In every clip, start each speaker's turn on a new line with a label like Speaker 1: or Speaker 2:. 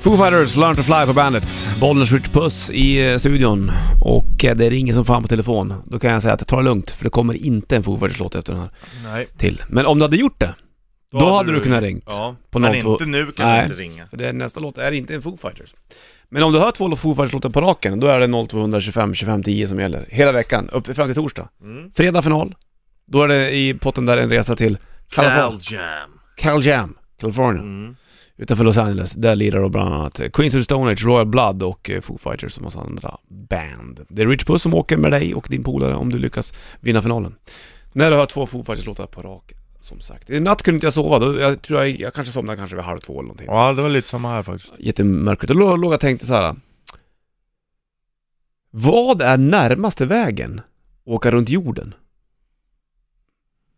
Speaker 1: Foo Fighters, Learn to Fly på bandet. Bollnäs Rich Puss i eh, studion. Och eh, det ringer som fan på telefon. Då kan jag säga att jag tar det lugnt, för det kommer inte en Foo Fighters-låt efter den här
Speaker 2: Nej.
Speaker 1: till. Men om du hade gjort det, då, hade du, kunnat ringt.
Speaker 2: Ja,
Speaker 1: På
Speaker 2: men
Speaker 1: 02.
Speaker 2: inte nu kan
Speaker 1: Nej.
Speaker 2: du inte ringa.
Speaker 1: För det, nästa låt är inte en Foo Fighters. Men om du hör två Foo Fighters-låtar på raken, då är det 0225 25 10 som gäller. Hela veckan, upp fram till torsdag.
Speaker 2: Mm.
Speaker 1: Fredag final. Då är det i potten där en resa till
Speaker 2: Cal
Speaker 1: California.
Speaker 2: Jam.
Speaker 1: Cal Jam, California.
Speaker 2: Mm.
Speaker 1: Utanför Los Angeles, där lirar då bland annat Queens of the Stone Age, Royal Blood och eh, Foo Fighters och massa andra band. Det är Rich Puss som åker med dig och din polare om du lyckas vinna finalen. När du hör två Foo Fighters-låtar på rak, som sagt. I natt kunde inte jag sova, då, jag tror jag, jag kanske somnade kanske vid halv två eller någonting.
Speaker 2: Ja, det var lite samma här faktiskt.
Speaker 1: Jättemörkret. Och då låg jag och tänkte så här. Vad är närmaste vägen att åka runt jorden?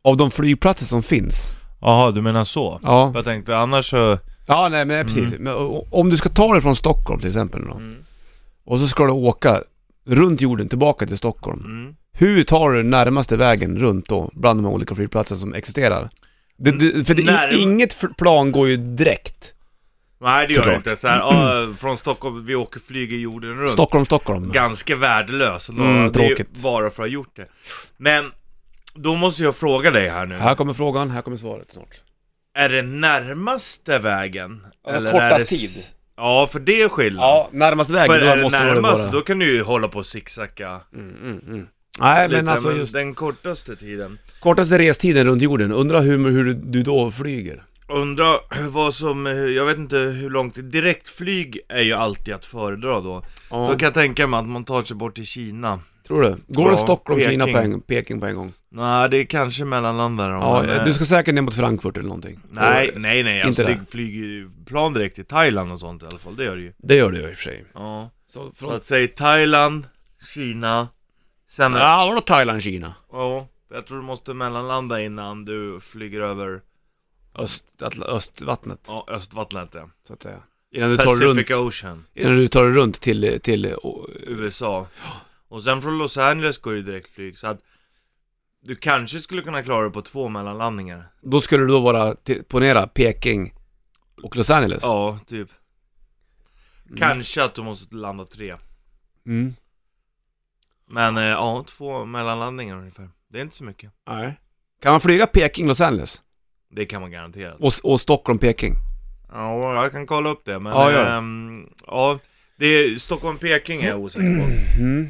Speaker 1: Av de flygplatser som finns?
Speaker 2: Jaha, du menar så?
Speaker 1: Ja.
Speaker 2: Jag tänkte annars så...
Speaker 1: Ja, nej men precis.
Speaker 2: Mm.
Speaker 1: Men, o- o- om du ska ta dig från Stockholm till exempel då, och så ska du åka runt jorden tillbaka till Stockholm.
Speaker 2: Mm.
Speaker 1: Hur tar du närmaste vägen runt då, bland de här olika flygplatserna som existerar? Det,
Speaker 2: Mm.
Speaker 1: det, för det,
Speaker 2: Närm-
Speaker 1: i- inget fl- plan går ju direkt.
Speaker 2: Nej, det gör
Speaker 1: Såklart.
Speaker 2: det inte. Så här, ah, från Stockholm, vi åker, flyger jorden runt.
Speaker 1: Stockholm, Stockholm.
Speaker 2: Ganska värdelös.
Speaker 1: Mm,
Speaker 2: det är ju
Speaker 1: tråkigt.
Speaker 2: Bara för att ha gjort det. Men, då måste jag fråga dig här nu.
Speaker 1: Här kommer frågan, här kommer svaret snart.
Speaker 2: Mm. Är det närmaste vägen?
Speaker 1: Alltså,
Speaker 2: är
Speaker 1: kortast
Speaker 2: det...
Speaker 1: tid.
Speaker 2: Ja, för det är skillnad.
Speaker 1: Ja, närmaste
Speaker 2: för
Speaker 1: vägen,
Speaker 2: är
Speaker 1: då
Speaker 2: det
Speaker 1: måste det
Speaker 2: närmast,
Speaker 1: vara...
Speaker 2: då kan du ju hålla på och zigzacka.
Speaker 1: Mm, mm, mm. Nej,
Speaker 2: lite,
Speaker 1: men alltså just
Speaker 2: den kortaste tiden.
Speaker 1: kortaste restiden runt jorden, undra hur, hur du då flyger.
Speaker 2: Undra vad som, eh, jag vet inte hur långt, direktflyg är ju alltid att föredra då.
Speaker 1: Ja,
Speaker 2: Då kan jag tänka mig att man tar sig bort till Kina.
Speaker 1: tror du? Går det
Speaker 2: Ja,
Speaker 1: Stockholm, Kina,
Speaker 2: Peking.
Speaker 1: Peng- Peking på en gång?
Speaker 2: Nej, det är kanske mellanlandar om
Speaker 1: Ja,
Speaker 2: man, eh,
Speaker 1: du ska säkert ner mot Frankfurt eller någonting.
Speaker 2: Nej,
Speaker 1: Och-
Speaker 2: nej, nej, alltså
Speaker 1: inte
Speaker 2: det flyger ju plan direkt till Thailand och sånt i alla fall, det gör det ju.
Speaker 1: Det gör du ju i och för sig.
Speaker 2: Ja.
Speaker 1: Så från...
Speaker 2: Så att säga Thailand, Kina, sen... Ja.
Speaker 1: Ja, vadå Thailand, Kina?
Speaker 2: jag tror du måste mellanlanda innan du flyger över
Speaker 1: Öst, Atl- östvattnet,
Speaker 2: ja, Östvattnet, ja.
Speaker 1: så att säga. Innan du, tar runt,
Speaker 2: Pacific Ocean,
Speaker 1: innan du tar runt till, till och,
Speaker 2: USA. Och sen från Los Angeles går det ju direktflyg, så att du kanske skulle kunna klara det på två mellanlandningar.
Speaker 1: Då skulle du då vara, till, ponera, Peking och Los Angeles.
Speaker 2: Ja, typ. Kanske att du måste landa tre.
Speaker 1: Mm.
Speaker 2: Men eh, ja, två mellanlandningar ungefär. Det är inte så mycket.
Speaker 1: Nej. Kan man flyga Peking, Los Angeles?
Speaker 2: Det kan man garanterat.
Speaker 1: Och, och Stockholm, Peking?
Speaker 2: Ja, jag kan kolla upp det, men...
Speaker 1: Ja, gör det.
Speaker 2: ehm, ja det är Stockholm-Peking är jag osäker på.
Speaker 1: Mm.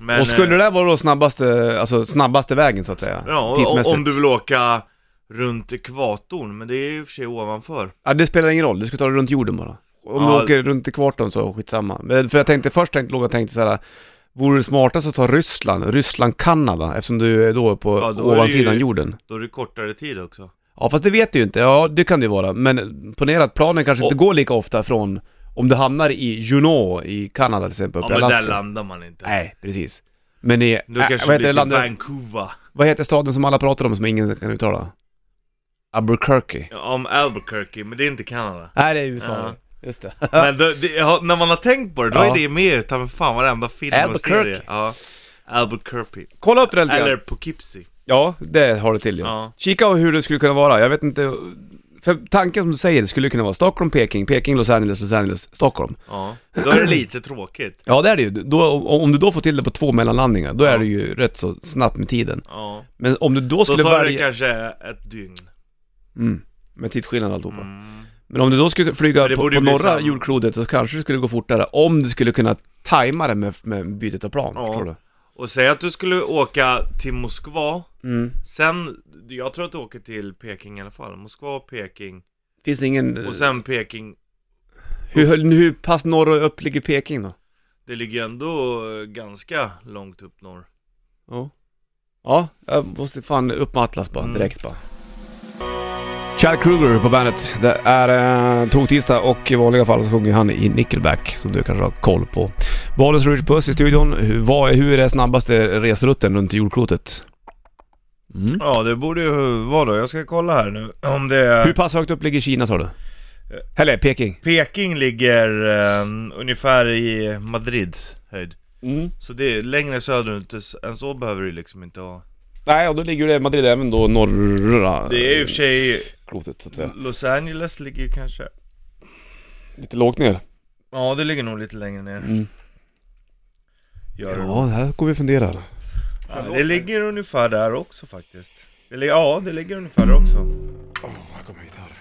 Speaker 2: Men,
Speaker 1: och skulle
Speaker 2: eh,
Speaker 1: det där vara då snabbaste, alltså snabbaste vägen så att säga?
Speaker 2: Ja,
Speaker 1: tidsmässigt?
Speaker 2: om, om du vill åka runt ekvatorn, men det är i och för sig ovanför.
Speaker 1: Ja, det spelar ingen roll, du ska ta det runt jorden bara. Om
Speaker 2: Ja.
Speaker 1: du åker runt i kvarton så skitsamma. Men- För jag tänkte först, tänkte, låg och tänkte så här. vore det smartast att ta Ryssland, Ryssland-Kanada, eftersom du är då på
Speaker 2: Ja, då är det
Speaker 1: ovansidan
Speaker 2: ju-
Speaker 1: jorden?
Speaker 2: Då är det kortare tid också.
Speaker 1: Ja, fast det vet du ju inte. Ja, det kan det ju vara. Men ponera att planen kanske inte går lika ofta från, om du hamnar i Juneau i Kanada till exempel,
Speaker 2: Ja,
Speaker 1: uppe i
Speaker 2: men där
Speaker 1: Alaska.
Speaker 2: landar man inte.
Speaker 1: Nej, precis. Men i,
Speaker 2: Då
Speaker 1: äh, vad,
Speaker 2: kanske det
Speaker 1: heter
Speaker 2: blir
Speaker 1: det
Speaker 2: till
Speaker 1: landet,
Speaker 2: Vancouver.
Speaker 1: vad heter staden som alla pratar om som ingen kan uttala? Albuquerque.
Speaker 2: Ja, Om Albuquerque, men det är inte Kanada.
Speaker 1: Nej, det är USA.
Speaker 2: Ja.
Speaker 1: Just det.
Speaker 2: Men då, det, ja, när man har tänkt på det, då
Speaker 1: Ja.
Speaker 2: är det med i ta mig fan varenda film
Speaker 1: Albuquerque.
Speaker 2: och serie. Ja. Albuquerque.
Speaker 1: Kolla upp det lite grann.
Speaker 2: Eller Poughkeepsie.
Speaker 1: Ja, det har det till ja.
Speaker 2: Ja.
Speaker 1: Kika på hur det skulle kunna vara, jag vet inte... För tanken som du säger, det skulle kunna vara Stockholm, Peking, Peking, Los Angeles, Los Angeles, Stockholm.
Speaker 2: Ja. Då är det lite tråkigt.
Speaker 1: Ja, det är det ju. Då, om om du då får till det på två mellanlandningar, då
Speaker 2: Ja.
Speaker 1: är det ju rätt så snabbt med tiden.
Speaker 2: Ja.
Speaker 1: Men om du då
Speaker 2: Då
Speaker 1: skulle
Speaker 2: tar det
Speaker 1: välja...
Speaker 2: kanske ett dygn.
Speaker 1: Mm, med tidsskillnad och alltihopa.
Speaker 2: Mm.
Speaker 1: Men om du då skulle flyga
Speaker 2: Men det
Speaker 1: på,
Speaker 2: borde
Speaker 1: på
Speaker 2: ju bli
Speaker 1: norra
Speaker 2: samma.
Speaker 1: jordklotet så kanske det skulle gå fortare om du skulle kunna tajma det med, med bytet av plan,
Speaker 2: Ja.
Speaker 1: förstår du?
Speaker 2: Och säg att du skulle åka till Moskva,
Speaker 1: Mm.
Speaker 2: sen, jag tror att du åker till Peking i alla fall. Moskva, Peking,
Speaker 1: Finns det ingen...
Speaker 2: och sen Peking.
Speaker 1: hur, hur pass norr och upp ligger Peking då?
Speaker 2: Det ligger ändå eh, ganska långt upp norr.
Speaker 1: Ja. Ja, jag måste fan upp med Atlas bara,
Speaker 2: Mm.
Speaker 1: direkt bara. Chad Kruger på bandet. Det är eh, toktisdag och i vanliga fall så sjunger han i Nickelback, som du kanske har koll på. Bollens Richard Puss i studion. Hur, vad, är- hur är snabbaste resrutten runt jordklotet? Mm.
Speaker 2: Ja, det borde ju vara då. Jag ska kolla här nu om det är...
Speaker 1: Hur pass högt upp ligger Kina sa du? Eller Peking?
Speaker 2: Peking ligger eh, ungefär i Madrids höjd.
Speaker 1: Mm.
Speaker 2: Så det är längre söderut än så behöver du liksom inte vara.
Speaker 1: Nej, och då ligger det Madrid även då norra
Speaker 2: Det är i och för sig,
Speaker 1: klotet så att säga.
Speaker 2: Los Angeles ligger ju kanske
Speaker 1: Lite lågt ner.
Speaker 2: Ja, det ligger nog lite längre ner.
Speaker 1: Mm.
Speaker 2: Gör det.
Speaker 1: Ja, här går vi och funderar.
Speaker 2: Ja, det ligger ungefär där också faktiskt. Det li- ja, det ligger ungefär där också.
Speaker 1: Åh, här kommer gitarr.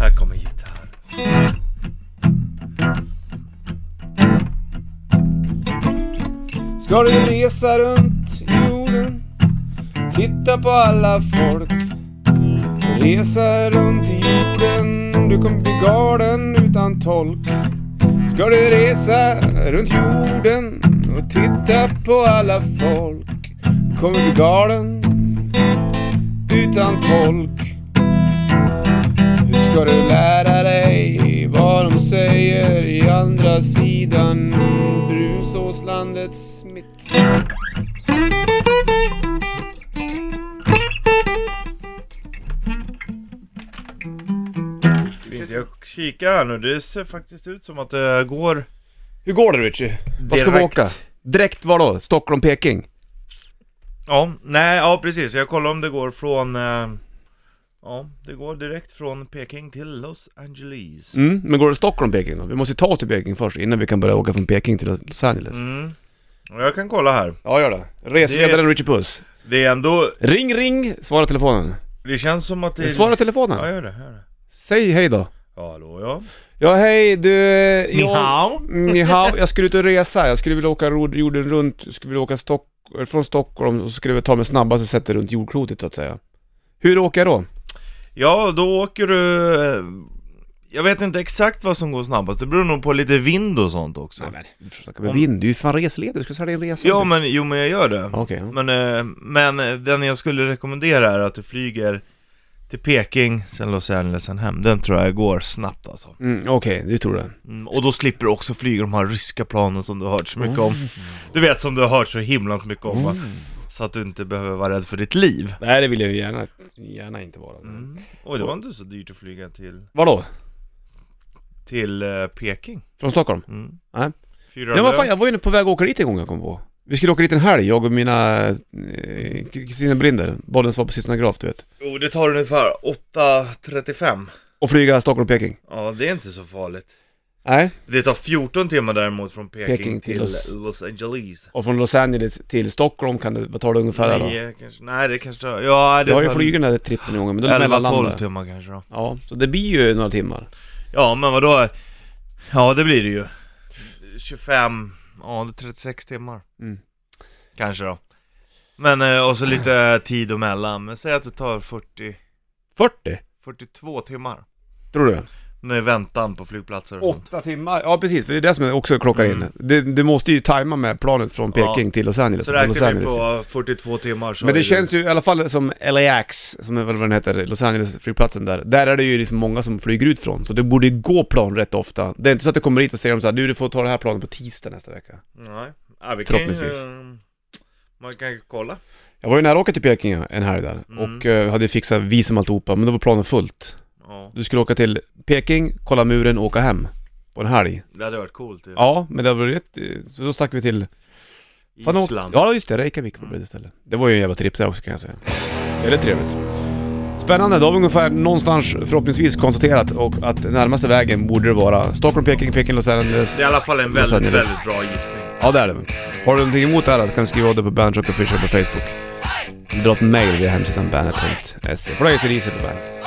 Speaker 2: Här kommer gitarr.
Speaker 1: Ska du resa runt jorden? Titta på alla folk. Resa runt jorden, du kommer bli galen utan tolk. Ska du resa runt jorden och titta på alla folk. Du kommer bli galen utan tolk. Hur ska du lära dig vad de säger i andra sidan Brusåslandets mitt?
Speaker 2: Fint, jag kikar här nu. Det ser faktiskt ut som att det går
Speaker 1: Hur går det Richie? Vad ska vi
Speaker 2: direkt.
Speaker 1: åka? Direkt var då? Stockholm, Peking?
Speaker 2: Ja, nej, ja precis. Jag kollar om det går från... Eh, ja, det går direkt från Peking till Los Angeles.
Speaker 1: Mm, men går det Stockholm, Peking då? Vi måste ju ta oss till Peking först innan vi kan börja åka från Peking till Los Angeles.
Speaker 2: Mm. Och jag kan kolla här.
Speaker 1: Ja, gör det. Resledaren Richie Puss.
Speaker 2: Det är ändå...
Speaker 1: Ring, ring! Svara telefonen. Eh,
Speaker 2: Det känns som att det... är-
Speaker 1: Svara
Speaker 2: Ja,
Speaker 1: telefonen.
Speaker 2: gör det. Gör det.
Speaker 1: Säg hej då.
Speaker 2: Ja, hallå ja.
Speaker 1: Ja, hej du... eh, jag-
Speaker 2: hao.
Speaker 1: Ni hao. Jag skulle ut och resa. Jag skulle vilja åka ro- jorden runt. Jag skulle vilja åka Stock från Stockholm och så skulle jag ta mig snabbaste sättet runt jordklotet så att säga. Hur åker jag då?
Speaker 2: Ja, då åker du... eh, Jag vet inte exakt vad som går snabbast, det beror nog på lite vind och sånt också.
Speaker 1: Nej, men, försöka med vind. Du är ju fan resledare. Du ska sälja en resa.
Speaker 2: Ja, men jo men jag gör det.
Speaker 1: Ja, Okej. ja.
Speaker 2: Men, eh, men eh, den jag skulle rekommendera är att du flyger till Peking, sen Los Angeles, sen hem. Den tror jag går snabbt alltså.
Speaker 1: Mm, Okej, du tror det.
Speaker 2: Mm, och då slipper du också flyga de här ryska planen som du har hört så mycket om. Du vet som du har hört så himla mycket om va? Så att du inte behöver vara rädd för ditt liv.
Speaker 1: Nej, det vill jag ju gärna, gärna inte vara.
Speaker 2: Mm. Oj, det var inte så dyrt att flyga till,
Speaker 1: Vadå?
Speaker 2: till eh, Peking.
Speaker 1: Från Stockholm?
Speaker 2: Mm.
Speaker 1: Nej.
Speaker 2: Fyra
Speaker 1: Ja, men fan, jag var ju på väg att åka dit en gång jag kom på. Vi skulle åka dit en helg, jag och mina eh, kusiner Brinder. Bollens var på Systrarna Graf, du vet.
Speaker 2: Jo, det tar ungefär 8.35.
Speaker 1: Och flyga Stockholm-Peking.
Speaker 2: Ja, det är inte så farligt.
Speaker 1: Nej.
Speaker 2: Det tar 14 timmar däremot från Peking,
Speaker 1: Peking till
Speaker 2: till
Speaker 1: Los-
Speaker 2: Los, Angeles.
Speaker 1: Och från Los Angeles till Stockholm kan det, vad tar det ungefär då?
Speaker 2: Nej, kanske, nej, det kanske tar... Ja, det
Speaker 1: Jag har ju
Speaker 2: tar
Speaker 1: flugit den där trippen en gång, men då är det
Speaker 2: 11-12
Speaker 1: mellanlandet.
Speaker 2: timmar kanske då.
Speaker 1: Ja, så det blir ju några timmar.
Speaker 2: Ja, men vadå? Ja, det blir det ju. 25, ja, det är 36 timmar.
Speaker 1: Mm.
Speaker 2: Kanske då. Men, eh, och så lite tid emellan. Men säg att det tar 40,
Speaker 1: 40?
Speaker 2: 42 timmar.
Speaker 1: Tror du?
Speaker 2: Med väntan på flygplatser och sånt.
Speaker 1: Åtta timmar? Ja precis, för det är det som jag också klockar
Speaker 2: Mm.
Speaker 1: in. Du, du måste ju tajma med planet från Peking till Los Angeles.
Speaker 2: Så
Speaker 1: och från Los
Speaker 2: räknar vi
Speaker 1: Angeles.
Speaker 2: på 42 timmar så
Speaker 1: Men
Speaker 2: är
Speaker 1: det känns ju i alla fall som LAX, som är väl vad den heter, Los Angeles flygplatsen där. Där är det ju liksom många som flyger ut från, så det borde ju gå plan rätt ofta. Det är inte så att det kommer hit och säger de så här, du du får ta det här planet på tisdag nästa vecka.
Speaker 2: Nej, ja, vi kan ju,
Speaker 1: Förhoppningsvis.
Speaker 2: eh, Man kan ju kolla.
Speaker 1: Jag var ju nära att åka till Peking ja, en helg där
Speaker 2: Mm.
Speaker 1: och eh, hade fixat visum och alltihopa, men då var planen fullt.
Speaker 2: Ja,
Speaker 1: Du skulle åka till Peking, kolla muren och åka hem. På en helg.
Speaker 2: det hade varit coolt ju.
Speaker 1: Ja, men det var rätt, eh, så då stack vi till Fan, åt-
Speaker 2: Island.
Speaker 1: Ja just det, Reykjavik var det istället. Det var ju en jävla tripp där också kan jag säga. Väldigt trevligt. Spännande, då har vi ungefär någonstans förhoppningsvis konstaterat och att närmaste vägen borde det vara Stockholm, Peking, Peking, Los Angeles.
Speaker 2: Det är i alla fall en
Speaker 1: Los
Speaker 2: väldigt,
Speaker 1: Angeles.
Speaker 2: väldigt bra gissning.
Speaker 1: Ja det är det. Har du någonting emot det här så kan du skriva av det på Bandrock Official på Facebook. Dra ett mail via hemsidan bandet.se. För då är ACDC på bandet.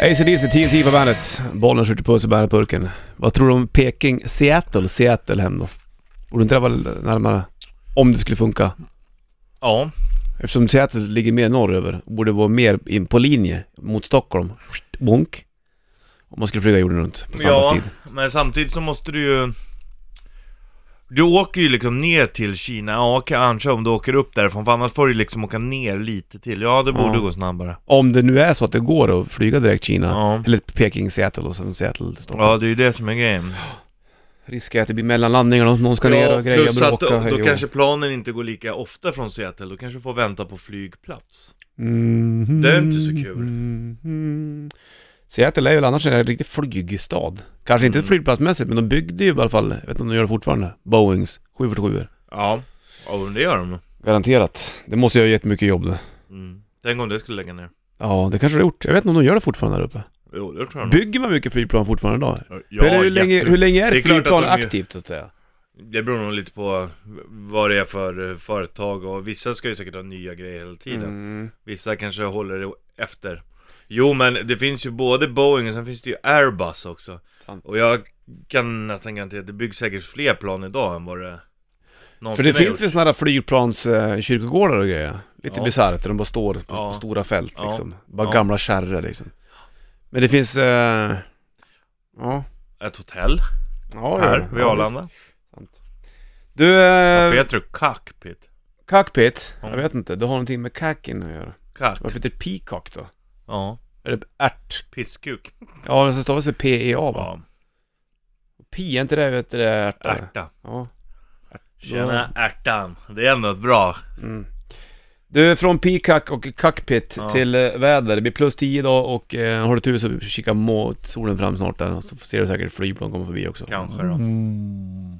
Speaker 1: ACDC, TNT på bandet. Bollen skjuter puss i bandetburken. Vad tror du om Peking, Seattle, Seattle hem då? Borde inte det vara närmare? Om det skulle funka.
Speaker 2: Ja,
Speaker 1: Eftersom Seattle ligger mer norröver, borde vara mer in på linje mot Stockholm. Skit, Bonk. Om man skulle flyga jorden runt på snabbast
Speaker 2: ja
Speaker 1: tid.
Speaker 2: men samtidigt så måste du ju... Du åker ju liksom ner till Kina, ja kanske om du åker upp därifrån, för annars får du liksom åka ner lite till. Ja, det borde
Speaker 1: Ja.
Speaker 2: gå snabbare.
Speaker 1: Om det nu är så att det går att flyga direkt Kina,
Speaker 2: Ja.
Speaker 1: eller Peking, Seattle och sen Seattle till Stockholm.
Speaker 2: Ja, det är ju det som är grejen.
Speaker 1: Risken är att det blir mellanlandningar och någon ska ner
Speaker 2: Ja,
Speaker 1: och grejer.
Speaker 2: plus
Speaker 1: bråka,
Speaker 2: att då,
Speaker 1: hej
Speaker 2: då
Speaker 1: och-
Speaker 2: kanske planen inte går lika ofta från Seattle, då kanske du får vänta på flygplats.
Speaker 1: Mhm.
Speaker 2: det är inte så kul.
Speaker 1: Mhm. Seattle är ju annars en riktig flygstad. Kanske inte
Speaker 2: Mm.
Speaker 1: flygplatsmässigt, men de byggde ju i alla fall, jag vet inte om de gör det fortfarande, Boeings 747
Speaker 2: Ja, ja men det gör de.
Speaker 1: Garanterat. Det måste ju ha gett mycket jobb det.
Speaker 2: Mm. Tänk om det skulle lägga ner.
Speaker 1: Ja, det kanske det har gjort. Jag vet inte om de gör det fortfarande där uppe.
Speaker 2: Jo, det tror jag nog.
Speaker 1: Bygger man mycket flygplan fortfarande idag?
Speaker 2: Ja,
Speaker 1: hur, hur, länge,
Speaker 2: jätte-
Speaker 1: hur länge är
Speaker 2: Det
Speaker 1: det
Speaker 2: är klart att
Speaker 1: flygplan
Speaker 2: de är-
Speaker 1: aktivt så att säga?
Speaker 2: Det beror nog lite på vad det är för eh, företag och vissa ska ju säkert ha nya grejer hela tiden.
Speaker 1: Mm.
Speaker 2: Vissa kanske håller det efter. Jo men det finns ju både Boeing och sen finns det ju Airbus också.
Speaker 1: Sant.
Speaker 2: Och jag kan nästan garantera att det byggs säkert fler plan idag än vad det
Speaker 1: För
Speaker 2: någonsin
Speaker 1: det
Speaker 2: har
Speaker 1: finns
Speaker 2: gjort.
Speaker 1: väl sådana här flygplanskyrkogårdar och grejer? Lite
Speaker 2: Ja.
Speaker 1: bisarrt, där de bara står på
Speaker 2: Ja.
Speaker 1: stora fält
Speaker 2: Ja.
Speaker 1: liksom. Bara
Speaker 2: Ja.
Speaker 1: gamla kärror liksom. Men det finns... Eh... Ja.
Speaker 2: Ett hotell
Speaker 1: Ja,
Speaker 2: här vid
Speaker 1: ja,
Speaker 2: Arlanda.
Speaker 1: Du,
Speaker 2: Varför
Speaker 1: eh,
Speaker 2: heter det cockpit?
Speaker 1: cockpit,
Speaker 2: Ja.
Speaker 1: jag vet inte, det har någonting med kakin att göra.
Speaker 2: Cock?
Speaker 1: Varför heter det peacock då?
Speaker 2: Ja.
Speaker 1: Är det ärt?
Speaker 2: Pisskuk?
Speaker 1: Ja, men så stavas det P-E-A va?
Speaker 2: Ja.
Speaker 1: P, är inte det vet du, det är ärta?
Speaker 2: Ärta.
Speaker 1: Ja.
Speaker 2: Tjena ärtan. Det är ändå ett bra.
Speaker 1: Mm. Du, från peacock och cockpit
Speaker 2: Ja.
Speaker 1: till eh, väder. Det blir plus 10 idag och eh, har du tur så kika mot solen fram snart där. Så ser du säkert flygplan komma förbi också.
Speaker 2: Kanske då.
Speaker 1: Mm.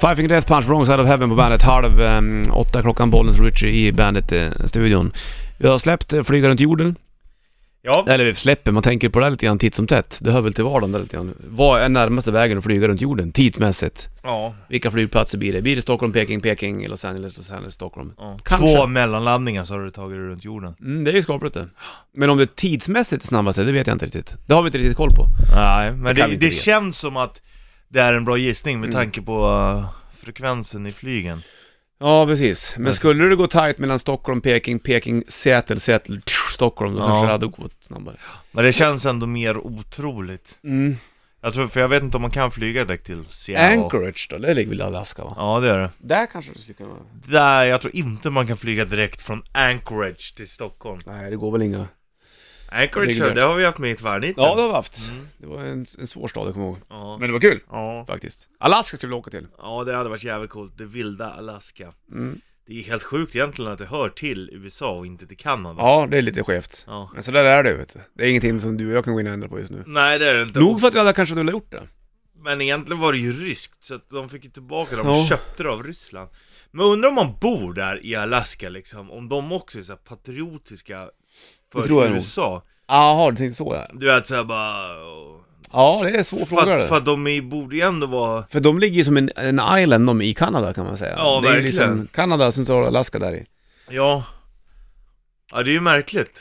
Speaker 1: Five Finger Death Punch, Wrong Side of Heaven på bandet. Halv um, åtta klockan, Bollens Richie i bandet-studion. vi har släppt eh, Flyga runt jorden.
Speaker 2: Ja.
Speaker 1: Eller vi släpper, man tänker på det här lite grann titt som tätt. Det hör väl till vardagen där lite grann. Vad är närmaste vägen att flyga runt jorden, tidsmässigt?
Speaker 2: Ja.
Speaker 1: Vilka flygplatser blir det? Blir det Stockholm, Peking, Peking, Los Angeles, Los Angeles, Stockholm?
Speaker 2: ja.
Speaker 1: Kanske.
Speaker 2: Två mellanlandningar så har du tagit dig runt jorden.
Speaker 1: Mm, det är ju skapligt det. Men om det är tidsmässigt snabbaste, det vet jag inte riktigt. Det har vi inte riktigt koll på.
Speaker 2: Nej,
Speaker 1: kan
Speaker 2: men det,
Speaker 1: vi
Speaker 2: det,
Speaker 1: inte veta.
Speaker 2: känns som att det är en bra gissning med
Speaker 1: Mm.
Speaker 2: tanke på eh, frekvensen i flygen.
Speaker 1: Ja, precis. Men
Speaker 2: Nej.
Speaker 1: skulle det gå tajt mellan Stockholm, Peking, Peking, Seattle, Seattle, tsch, Stockholm, då
Speaker 2: Ja.
Speaker 1: kanske det hade gått snabbare.
Speaker 2: Men det känns ändå mer otroligt.
Speaker 1: Mm.
Speaker 2: Jag tror, för jag vet inte om man kan flyga direkt till Seattle.
Speaker 1: Anchorage då, det ligger väl i Alaska va?
Speaker 2: Ja, det är det.
Speaker 1: Där kanske det skulle kunna vara.
Speaker 2: Där, jag tror inte man kan flyga direkt från Anchorage till Stockholm.
Speaker 1: Nej, det går väl inga...
Speaker 2: Anchorage,
Speaker 1: Ligger där.
Speaker 2: det har vi haft med i tvärniten.
Speaker 1: Ja, det har vi haft.
Speaker 2: Mm.
Speaker 1: Det var en, en svår stad, jag kommer ihåg.
Speaker 2: Ja.
Speaker 1: Men det var kul.
Speaker 2: Ja.
Speaker 1: faktiskt. Alaska skulle vi åka till.
Speaker 2: ja, det hade varit jävligt coolt. Det vilda Alaska.
Speaker 1: Mm.
Speaker 2: Det är helt sjukt egentligen att det hör till USA och inte till Kanada.
Speaker 1: Ja, det är lite skevt.
Speaker 2: Ja.
Speaker 1: Men så där är det vet du. Det är ingenting som du och jag kan gå in och ändra på just nu.
Speaker 2: Nej, det är det inte.
Speaker 1: Nog för att vi hade kanske velat gjort det.
Speaker 2: Men egentligen var det ju ryskt, så att de fick ju tillbaka dem
Speaker 1: Ja.
Speaker 2: och köpte det av Ryssland Men undrar om man bor där i Alaska liksom, om de också är så här patriotiska för
Speaker 1: Det tror jag nog.
Speaker 2: USA
Speaker 1: Jaha, du tänkte så ja.
Speaker 2: Du vet såhär bara... åh.
Speaker 1: Ja, det är en svår
Speaker 2: För
Speaker 1: fråga
Speaker 2: att,
Speaker 1: det.
Speaker 2: för att de är, borde ju ändå vara...
Speaker 1: För de ligger ju som en, en island de i Kanada kan man säga.
Speaker 2: Ja,
Speaker 1: det är ju
Speaker 2: verkligen.
Speaker 1: liksom Kanada, sen så har du Alaska där i.
Speaker 2: Ja... Ja det är ju märkligt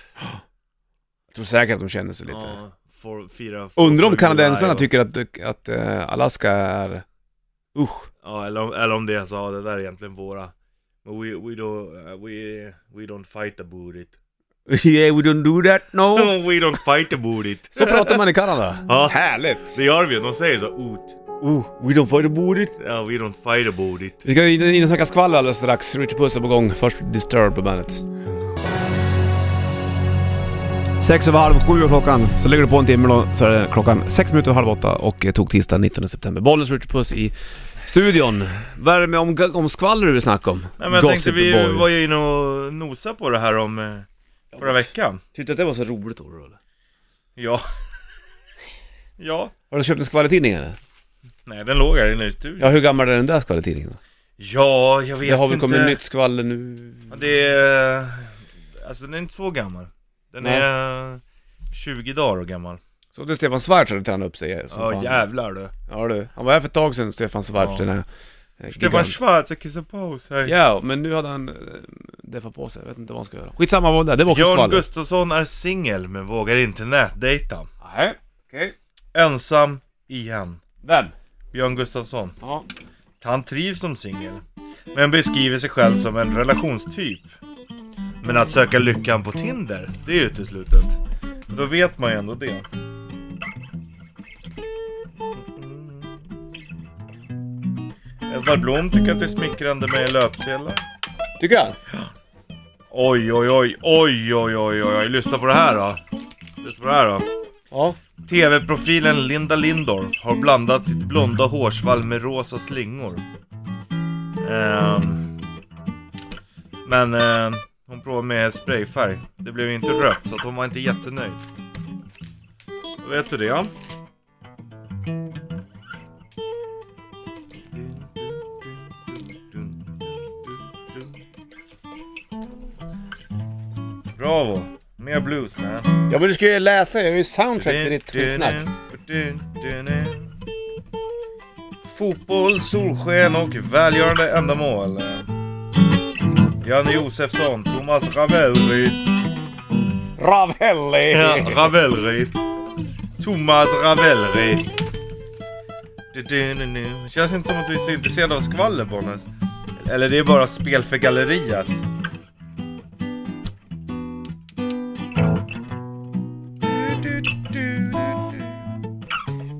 Speaker 1: Jag tror säkert att de känner sig lite.
Speaker 2: ja, for, fira,
Speaker 1: Undrar om
Speaker 2: for-
Speaker 1: kanadensarna
Speaker 2: och-
Speaker 1: tycker att, att eh, Alaska är... Usch.
Speaker 2: Ja eller om, eller om det är så, ja, det där är egentligen våra Men we, we don't, uh, we, we don't fight about it
Speaker 1: Yeah, we don't do that, no.
Speaker 2: We don't fight about it
Speaker 1: Så pratar man i Kanada.
Speaker 2: Ja.
Speaker 1: Härligt.
Speaker 2: Det gör vi ju, de säger så, ut
Speaker 1: Oh, we don't fight about it.
Speaker 2: Ja, we don't fight about it.
Speaker 1: Vi ska in in och snacka skvaller alldeles strax. Richard Puss är på gång. Först Disturbed på bandet. Sex över halv sju är klockan. Så lägger du på en timme då så är det klockan sex minuter över halv åtta och eh, tog tisdag 19 september. Bollens Richard Puss i studion. Vad är det med om, om skvaller du vill snacka om?
Speaker 2: Nej men jag tänkte vi
Speaker 1: boy.
Speaker 2: var ju inne och nosa på det här om eh, förra veckan.
Speaker 1: Tyckte att det var så roligt Oro eller?
Speaker 2: Ja. ja.
Speaker 1: Har du köpt en skvallertidning eller?
Speaker 2: Nej, den låg här inne i studion.
Speaker 1: Ja, hur gammal är den där skvallertidningen? då?
Speaker 2: Ja, jag vet
Speaker 1: Det har väl
Speaker 2: inte.
Speaker 1: kommit nytt skvaller nu?
Speaker 2: Ja, Det är... eh, Alltså den är inte så gammal. Den
Speaker 1: Nej.
Speaker 2: är eh, 20 dagar gammal.
Speaker 1: Så det är Stefan Schwarz hade tränat upp sig som
Speaker 2: Ja
Speaker 1: fan.
Speaker 2: jävlar du.
Speaker 1: Ja du, han var här för ett tag sedan, Stefan Svart,
Speaker 2: Ja.
Speaker 1: den här eh,
Speaker 2: Stefan
Speaker 1: giganten.
Speaker 2: Schwarz, jag kissar paus här.
Speaker 1: Ja, men nu hade han eh, deffat på sig, jag vet inte vad han ska göra. Skitsamma vad det är, det var också
Speaker 2: Björn
Speaker 1: skvaller.
Speaker 2: Gustafsson är singel men vågar inte nätdejta.
Speaker 1: Nej, okej.
Speaker 2: Ensam igen.
Speaker 1: Vem?
Speaker 2: Björn Gustafsson.
Speaker 1: Ja.
Speaker 2: Han trivs som singel, men beskriver sig själv som en relationstyp. Men att söka lyckan på Tinder, det är uteslutet. Då vet man ju ändå det. Edvard Blom tycker att det är smickrande med löpsedlar.
Speaker 1: Tycker jag.
Speaker 2: Oj, oj, oj, oj, oj, oj, oj, oj, lyssna på det här då. Lyssna på det här då.
Speaker 1: Ja.
Speaker 2: TV-profilen Linda Lindorff har blandat sitt blonda hårsvall med rosa slingor. Ehm, men ehm, hon provade med sprayfärg. Det blev inte rött, så att hon var inte jättenöjd. Vet du det? Bravo! Mer blues man.
Speaker 1: Ja men du ska ju läsa, jag har ju soundtrack till ditt skitsnack.
Speaker 2: Fotboll, solsken och välgörande ändamål. Janne Josefsson, Thomas Ravelry.
Speaker 1: Ravelli!
Speaker 2: Ja, Ravelry. Thomas Ravelry. Det känns inte som att du är så intresserad av skvaller, Bonnes. Eller det är bara spel för galleriet.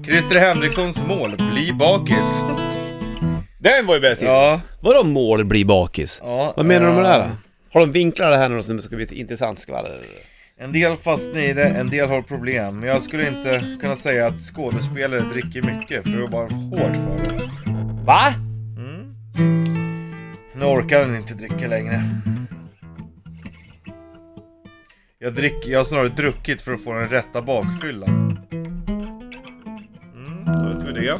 Speaker 2: Christer Henrikssons mål, bli bakis.
Speaker 1: Den var ju bäst ja.
Speaker 2: Ja,
Speaker 1: Vadå mål blir bakis?
Speaker 2: ja.
Speaker 1: Vad menar du med det här
Speaker 2: eh,
Speaker 1: då? Har de vinklar det här nu som det ska bli ett intressant skvaller?
Speaker 2: En del fastnar i det, en del har problem. Men jag skulle inte kunna säga att skådespelare dricker mycket, för det var bara hårt för dem.
Speaker 1: Va?
Speaker 2: Mm. Nu orkar den inte dricka längre. Jag, drick, jag har snarare druckit för att få den rätta bakfyllan. Mm, då vet vi det.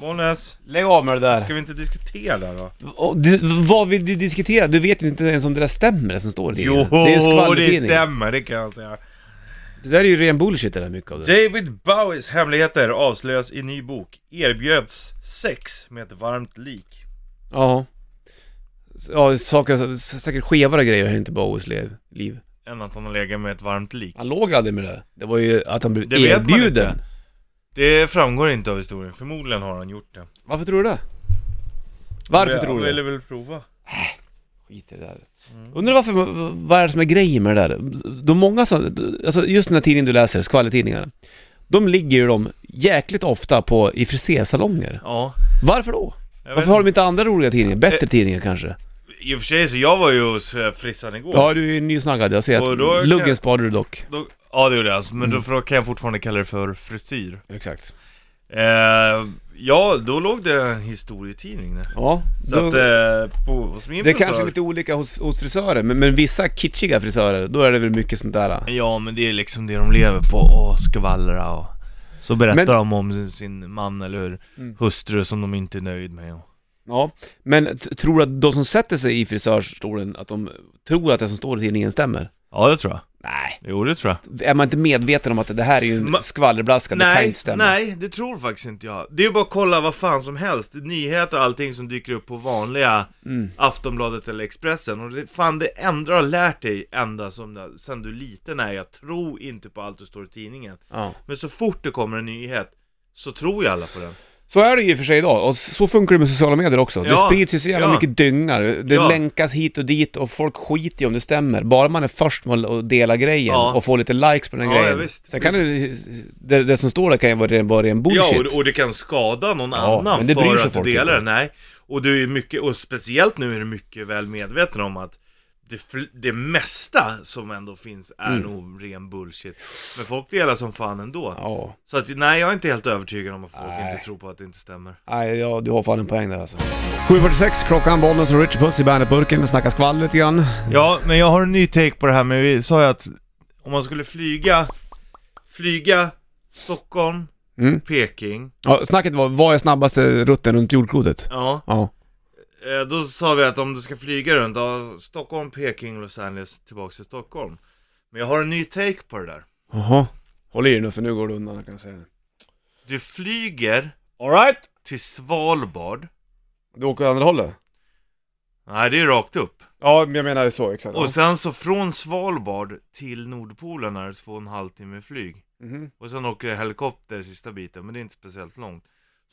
Speaker 2: Bollnäs,
Speaker 1: Lägg av med det där.
Speaker 2: ska vi inte diskutera det här då?
Speaker 1: Och du, vad vill du diskutera? Du vet ju inte ens om det där stämmer det som står i tidningen. det är ju
Speaker 2: Jo, det
Speaker 1: skvallertidning.
Speaker 2: stämmer, det kan jag säga.
Speaker 1: Det där är ju ren bullshit det där mycket av det.
Speaker 2: David Bowies hemligheter avslöjas i ny bok. Erbjöds sex med ett varmt lik.
Speaker 1: Ja. Ja, saker, säkert skevare grejer har inte Bowies lev- liv.
Speaker 2: Än att han har legat med ett varmt lik.
Speaker 1: Han låg aldrig med det. Det var ju att han blev
Speaker 2: Det vet man
Speaker 1: erbjuden.
Speaker 2: inte. Det framgår inte av historien, förmodligen har han gjort det.
Speaker 1: Varför tror du det? Varför
Speaker 2: Jag
Speaker 1: tror du det?
Speaker 2: ville väl prova.
Speaker 1: Skit i det där. Undrar varför, vad är det som är grejen med det där? De många som, alltså just den här tidningen du läser, skvallertidningarna. De ligger ju de jäkligt ofta på, i frisersalonger.
Speaker 2: Ja.
Speaker 1: Varför då?
Speaker 2: Jag Eh.
Speaker 1: Varför har de inte andra roliga tidningar? Bättre tidningar kanske?
Speaker 2: I och för sig så jag var ju hos eh, frissan igår.
Speaker 1: Ja, du är nysnaggad. Jag ser
Speaker 2: Och då
Speaker 1: att
Speaker 2: kan-
Speaker 1: luggen sparade du dock.
Speaker 2: Då, ja det gjorde jag, alltså, men
Speaker 1: Mm.
Speaker 2: då, för då kan jag fortfarande kalla det för frisyr.
Speaker 1: Exakt.
Speaker 2: Eh, ja, då låg det en historietidning där.
Speaker 1: Ja,
Speaker 2: Så
Speaker 1: då,
Speaker 2: att, eh, på, hos min
Speaker 1: det
Speaker 2: frisör-
Speaker 1: kanske är lite olika hos, hos frisörer, men, men vissa kitschiga frisörer, då är det väl mycket sånt där.
Speaker 2: Ja men det är liksom det de lever på, och skvallra och så berättar
Speaker 1: Men-
Speaker 2: de om sin, sin man eller
Speaker 1: Mm.
Speaker 2: hustru som de inte är nöjd med. och-
Speaker 1: Ja, men t- tror du att de som sätter sig i frisörstolen, att de tror att det som står i tidningen stämmer?
Speaker 2: Ja det tror jag.
Speaker 1: Nej.
Speaker 2: Jo det tror jag.
Speaker 1: Är man inte medveten om att det här är ju en
Speaker 2: Ma-
Speaker 1: skvallerblaska, det kan
Speaker 2: Nej,
Speaker 1: inte stämma.
Speaker 2: nej, det tror faktiskt inte jag. Det är ju bara att kolla vad fan som helst, nyheter och allting som dyker upp på vanliga
Speaker 1: Mm.
Speaker 2: Aftonbladet eller Expressen. Och det, fan, det enda du har lärt dig ända som, sen du liten är, jag tror inte på allt du står i tidningen.
Speaker 1: Ja.
Speaker 2: Men så fort det kommer en nyhet, så tror ju alla på den.
Speaker 1: Så är det ju i och för sig idag, och så funkar det med sociala medier också. det
Speaker 2: Ja,
Speaker 1: sprids ju så jävla
Speaker 2: ja.
Speaker 1: mycket dyngar, det
Speaker 2: Ja.
Speaker 1: länkas hit och dit och folk skiter i om det stämmer. Bara man är först med att dela grejen
Speaker 2: Ja.
Speaker 1: och får lite likes på den
Speaker 2: Ja,
Speaker 1: grejen.
Speaker 2: ja, visst.
Speaker 1: Sen kan det, det, det som står där kan ju vara ren, vara ren bullshit.
Speaker 2: Ja, och, och det kan skada någon
Speaker 1: Ja,
Speaker 2: annan
Speaker 1: men det bryr
Speaker 2: för
Speaker 1: sig
Speaker 2: att du
Speaker 1: folk
Speaker 2: delar
Speaker 1: inte.
Speaker 2: den. Nej, och du är mycket, och speciellt nu är du mycket väl medveten om att det, fl- det mesta som ändå finns är
Speaker 1: Mm.
Speaker 2: nog ren bullshit. Men folk delar som fan ändå.
Speaker 1: Ja.
Speaker 2: Så att, nej, jag är inte helt övertygad om att folk
Speaker 1: Nej.
Speaker 2: inte tror på att det inte stämmer.
Speaker 1: Nej, ja, du har fan en poäng där alltså. 7.46, klockan, Bollnäs och Richard Puss i Bandetburken, snackar skvall lite grann.
Speaker 2: Ja, men jag har en ny take på det här men vi sa ju att om man skulle flyga, flyga Stockholm,
Speaker 1: Mm.
Speaker 2: Peking,
Speaker 1: Ja, snacket var, vad är snabbaste rutten runt jordklotet?
Speaker 2: ja.
Speaker 1: Ja.
Speaker 2: Eh, Då sa vi att om du ska flyga runt, ja, Stockholm, Peking, Los Angeles, tillbaks till Stockholm. Men jag har en ny take på det där.
Speaker 1: Jaha. Håll i dig nu för nu går du undan kan jag säga.
Speaker 2: Du flyger
Speaker 1: Alright!
Speaker 2: till Svalbard,
Speaker 1: Du åker åt andra hållet?
Speaker 2: nej det är rakt upp.
Speaker 1: Ja, men jag menar så exakt.
Speaker 2: Och sen så från Svalbard till Nordpolen är det två och en halv timme flyg.
Speaker 1: Mhm.
Speaker 2: Och sen åker jag helikopter sista biten, men det är inte speciellt långt.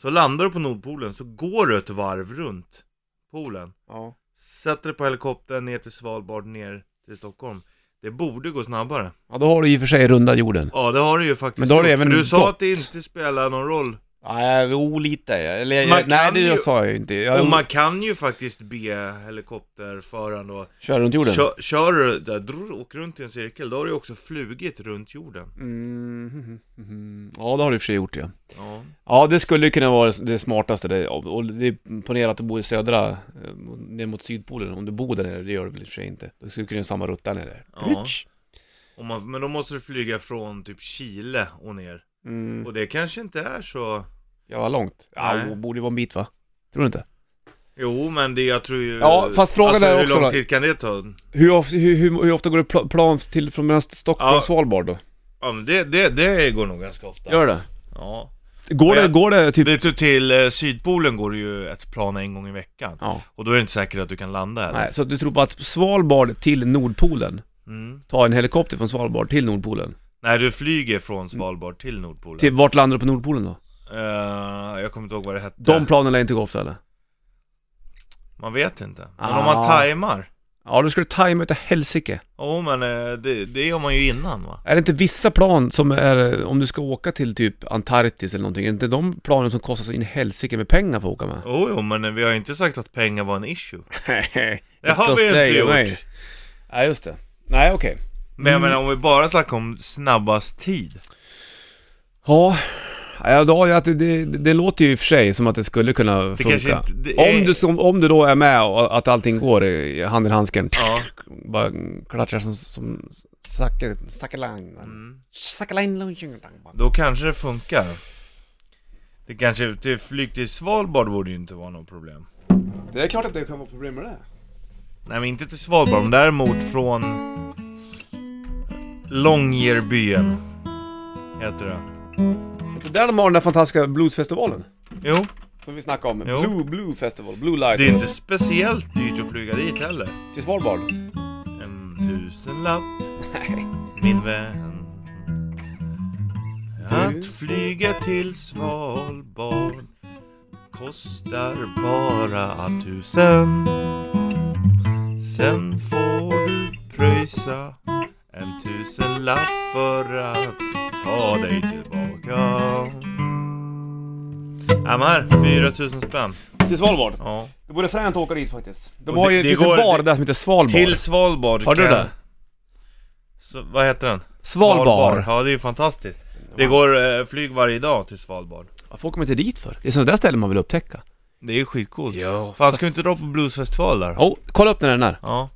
Speaker 2: Så landar du på Nordpolen så går du ett varv runt polen.
Speaker 1: Ja.
Speaker 2: Sätter dig på helikoptern ner till Svalbard, ner till Stockholm. Det borde gå snabbare.
Speaker 1: ja, då har du i och för sig runda jorden.
Speaker 2: Ja det har det ju faktiskt
Speaker 1: Men då har det
Speaker 2: gjort,
Speaker 1: även
Speaker 2: för du sa
Speaker 1: gått.
Speaker 2: att det inte spelar någon roll
Speaker 1: Nej, jo lite. Eller,
Speaker 2: Man
Speaker 1: jag, nej,
Speaker 2: kan
Speaker 1: det
Speaker 2: ju-
Speaker 1: sa jag ju inte. Jag
Speaker 2: Och man kan ju faktiskt be helikopterföraren då
Speaker 1: kör runt jorden.
Speaker 2: Kör, kör du där, drr, åker runt i en cirkel, då har du ju också flugit runt jorden
Speaker 1: Mm, mhm, mhm. Ja, det har du i och för sig gjort ja.
Speaker 2: Ja,
Speaker 1: Ja, det skulle ju kunna vara det smartaste. Det, och det ponera att du bor i södra, eh, ner mot sydpolen. Om du bor där nere, det gör du väl i och för sig inte. Du skulle kunna göra samma rutta nere.
Speaker 2: Ja. Och man, men då måste du flyga från typ Chile och ner
Speaker 1: Mm.
Speaker 2: Och det kanske inte är så...
Speaker 1: Ja, vad långt. Ja,
Speaker 2: Nej.
Speaker 1: och borde ju vara en bit va? Tror du inte?
Speaker 2: Jo men det, jag tror ju...
Speaker 1: Ja, fast frågan
Speaker 2: alltså,
Speaker 1: är
Speaker 2: hur
Speaker 1: också
Speaker 2: lång
Speaker 1: då-
Speaker 2: tid kan det ta?
Speaker 1: Hur, of- hur, hur, hur ofta går det pl- plan till från mellan Stockholm
Speaker 2: Ja.
Speaker 1: och Svalbard då?
Speaker 2: Ja men det, det, det går nog ganska ofta.
Speaker 1: Gör det?
Speaker 2: Ja.
Speaker 1: Går
Speaker 2: Men
Speaker 1: det,
Speaker 2: jag-
Speaker 1: går det typ...
Speaker 2: Det är till- till eh, Sydpolen går det ju ett plan en gång i veckan.
Speaker 1: Ja.
Speaker 2: Och då är det inte säkert att du kan landa heller.
Speaker 1: Nej, så att du tror på att Svalbard till Nordpolen,
Speaker 2: Mm.
Speaker 1: ta en helikopter från Svalbard till Nordpolen.
Speaker 2: Nej, du flyger från Svalbard till Nordpolen.
Speaker 1: Mm. Till, vart landar du på Nordpolen då?
Speaker 2: Eh, jag kommer inte ihåg vad det hette.
Speaker 1: De planen lär inte gå ofta eller?
Speaker 2: Man vet inte. Men
Speaker 1: Ah.
Speaker 2: om man tajmar.
Speaker 1: Ja, då ska du tajma utav helsike.
Speaker 2: Jo men eh, det, det gör man ju innan va?
Speaker 1: Är det inte vissa plan som är, om du ska åka till typ Antarktis eller någonting, är det inte de planen som kostar så in i helsike med pengar för att åka med?
Speaker 2: Jo, jo men eh, vi har ju inte sagt att pengar var en issue.
Speaker 1: Nej,
Speaker 2: Det har vi inte gjort.
Speaker 1: Nej, just det. Nej, okej.
Speaker 2: Men
Speaker 1: Mm.
Speaker 2: jag menar om vi bara snackar om snabbast tid.
Speaker 1: Ja, ja då, ja, det, det, det låter ju i och för sig som att det skulle kunna funka.
Speaker 2: kanske inte- det
Speaker 1: om,
Speaker 2: är-
Speaker 1: du, som, om du då är med och att allting går i hand i handsken.
Speaker 2: Ja.
Speaker 1: Bara klatschar som, som sacke- sackelang.
Speaker 2: Mm.
Speaker 1: Sackelang, lung, tjing, tang, bang.
Speaker 2: Då kanske det funkar. Det kanske, till flyg till Svalbard borde ju inte vara något problem.
Speaker 1: Det är klart att det kan vara problem med det.
Speaker 2: Nej men inte till Svalbard, men däremot från Longyearbyen. Heter det.
Speaker 1: Det är där de har den där fantastiska bluesfestivalen.
Speaker 2: Jo,
Speaker 1: Som vi snackade om.
Speaker 2: Jo.
Speaker 1: Blue, Blue Festival, Blue Light.
Speaker 2: det är inte speciellt dyrt att flyga dit heller.
Speaker 1: Till Svalbard.
Speaker 2: En tusenlapp,
Speaker 1: Nej.
Speaker 2: min vän. Att flyga till Svalbard kostar bara tusen. Sen får du pröjsa en tusenlapp för att ta dig tillbaka. Ja, men här, 4000 spänn.
Speaker 1: Till Svalbard.
Speaker 2: Ja.
Speaker 1: Det vore fränt att åka dit faktiskt. De
Speaker 2: Och
Speaker 1: har
Speaker 2: det-
Speaker 1: ju,
Speaker 2: det
Speaker 1: det finns
Speaker 2: går-
Speaker 1: en bar
Speaker 2: det-
Speaker 1: där som heter Svalbard.
Speaker 2: Till Svalbard
Speaker 1: Har du
Speaker 2: kan-
Speaker 1: det?
Speaker 2: Så, vad heter den?
Speaker 1: Svalbard.
Speaker 2: Ja, det är ju fantastiskt. Det går eh, flyg varje dag till Svalbard.
Speaker 1: Varför åker man inte dit för? Det är sådana där ställen man vill upptäcka.
Speaker 2: Det är ju skitcoolt.
Speaker 1: Ja.
Speaker 2: Fan, ska vi inte dra på bluesfestival där?
Speaker 1: Oh, kolla upp den här.
Speaker 2: Ja.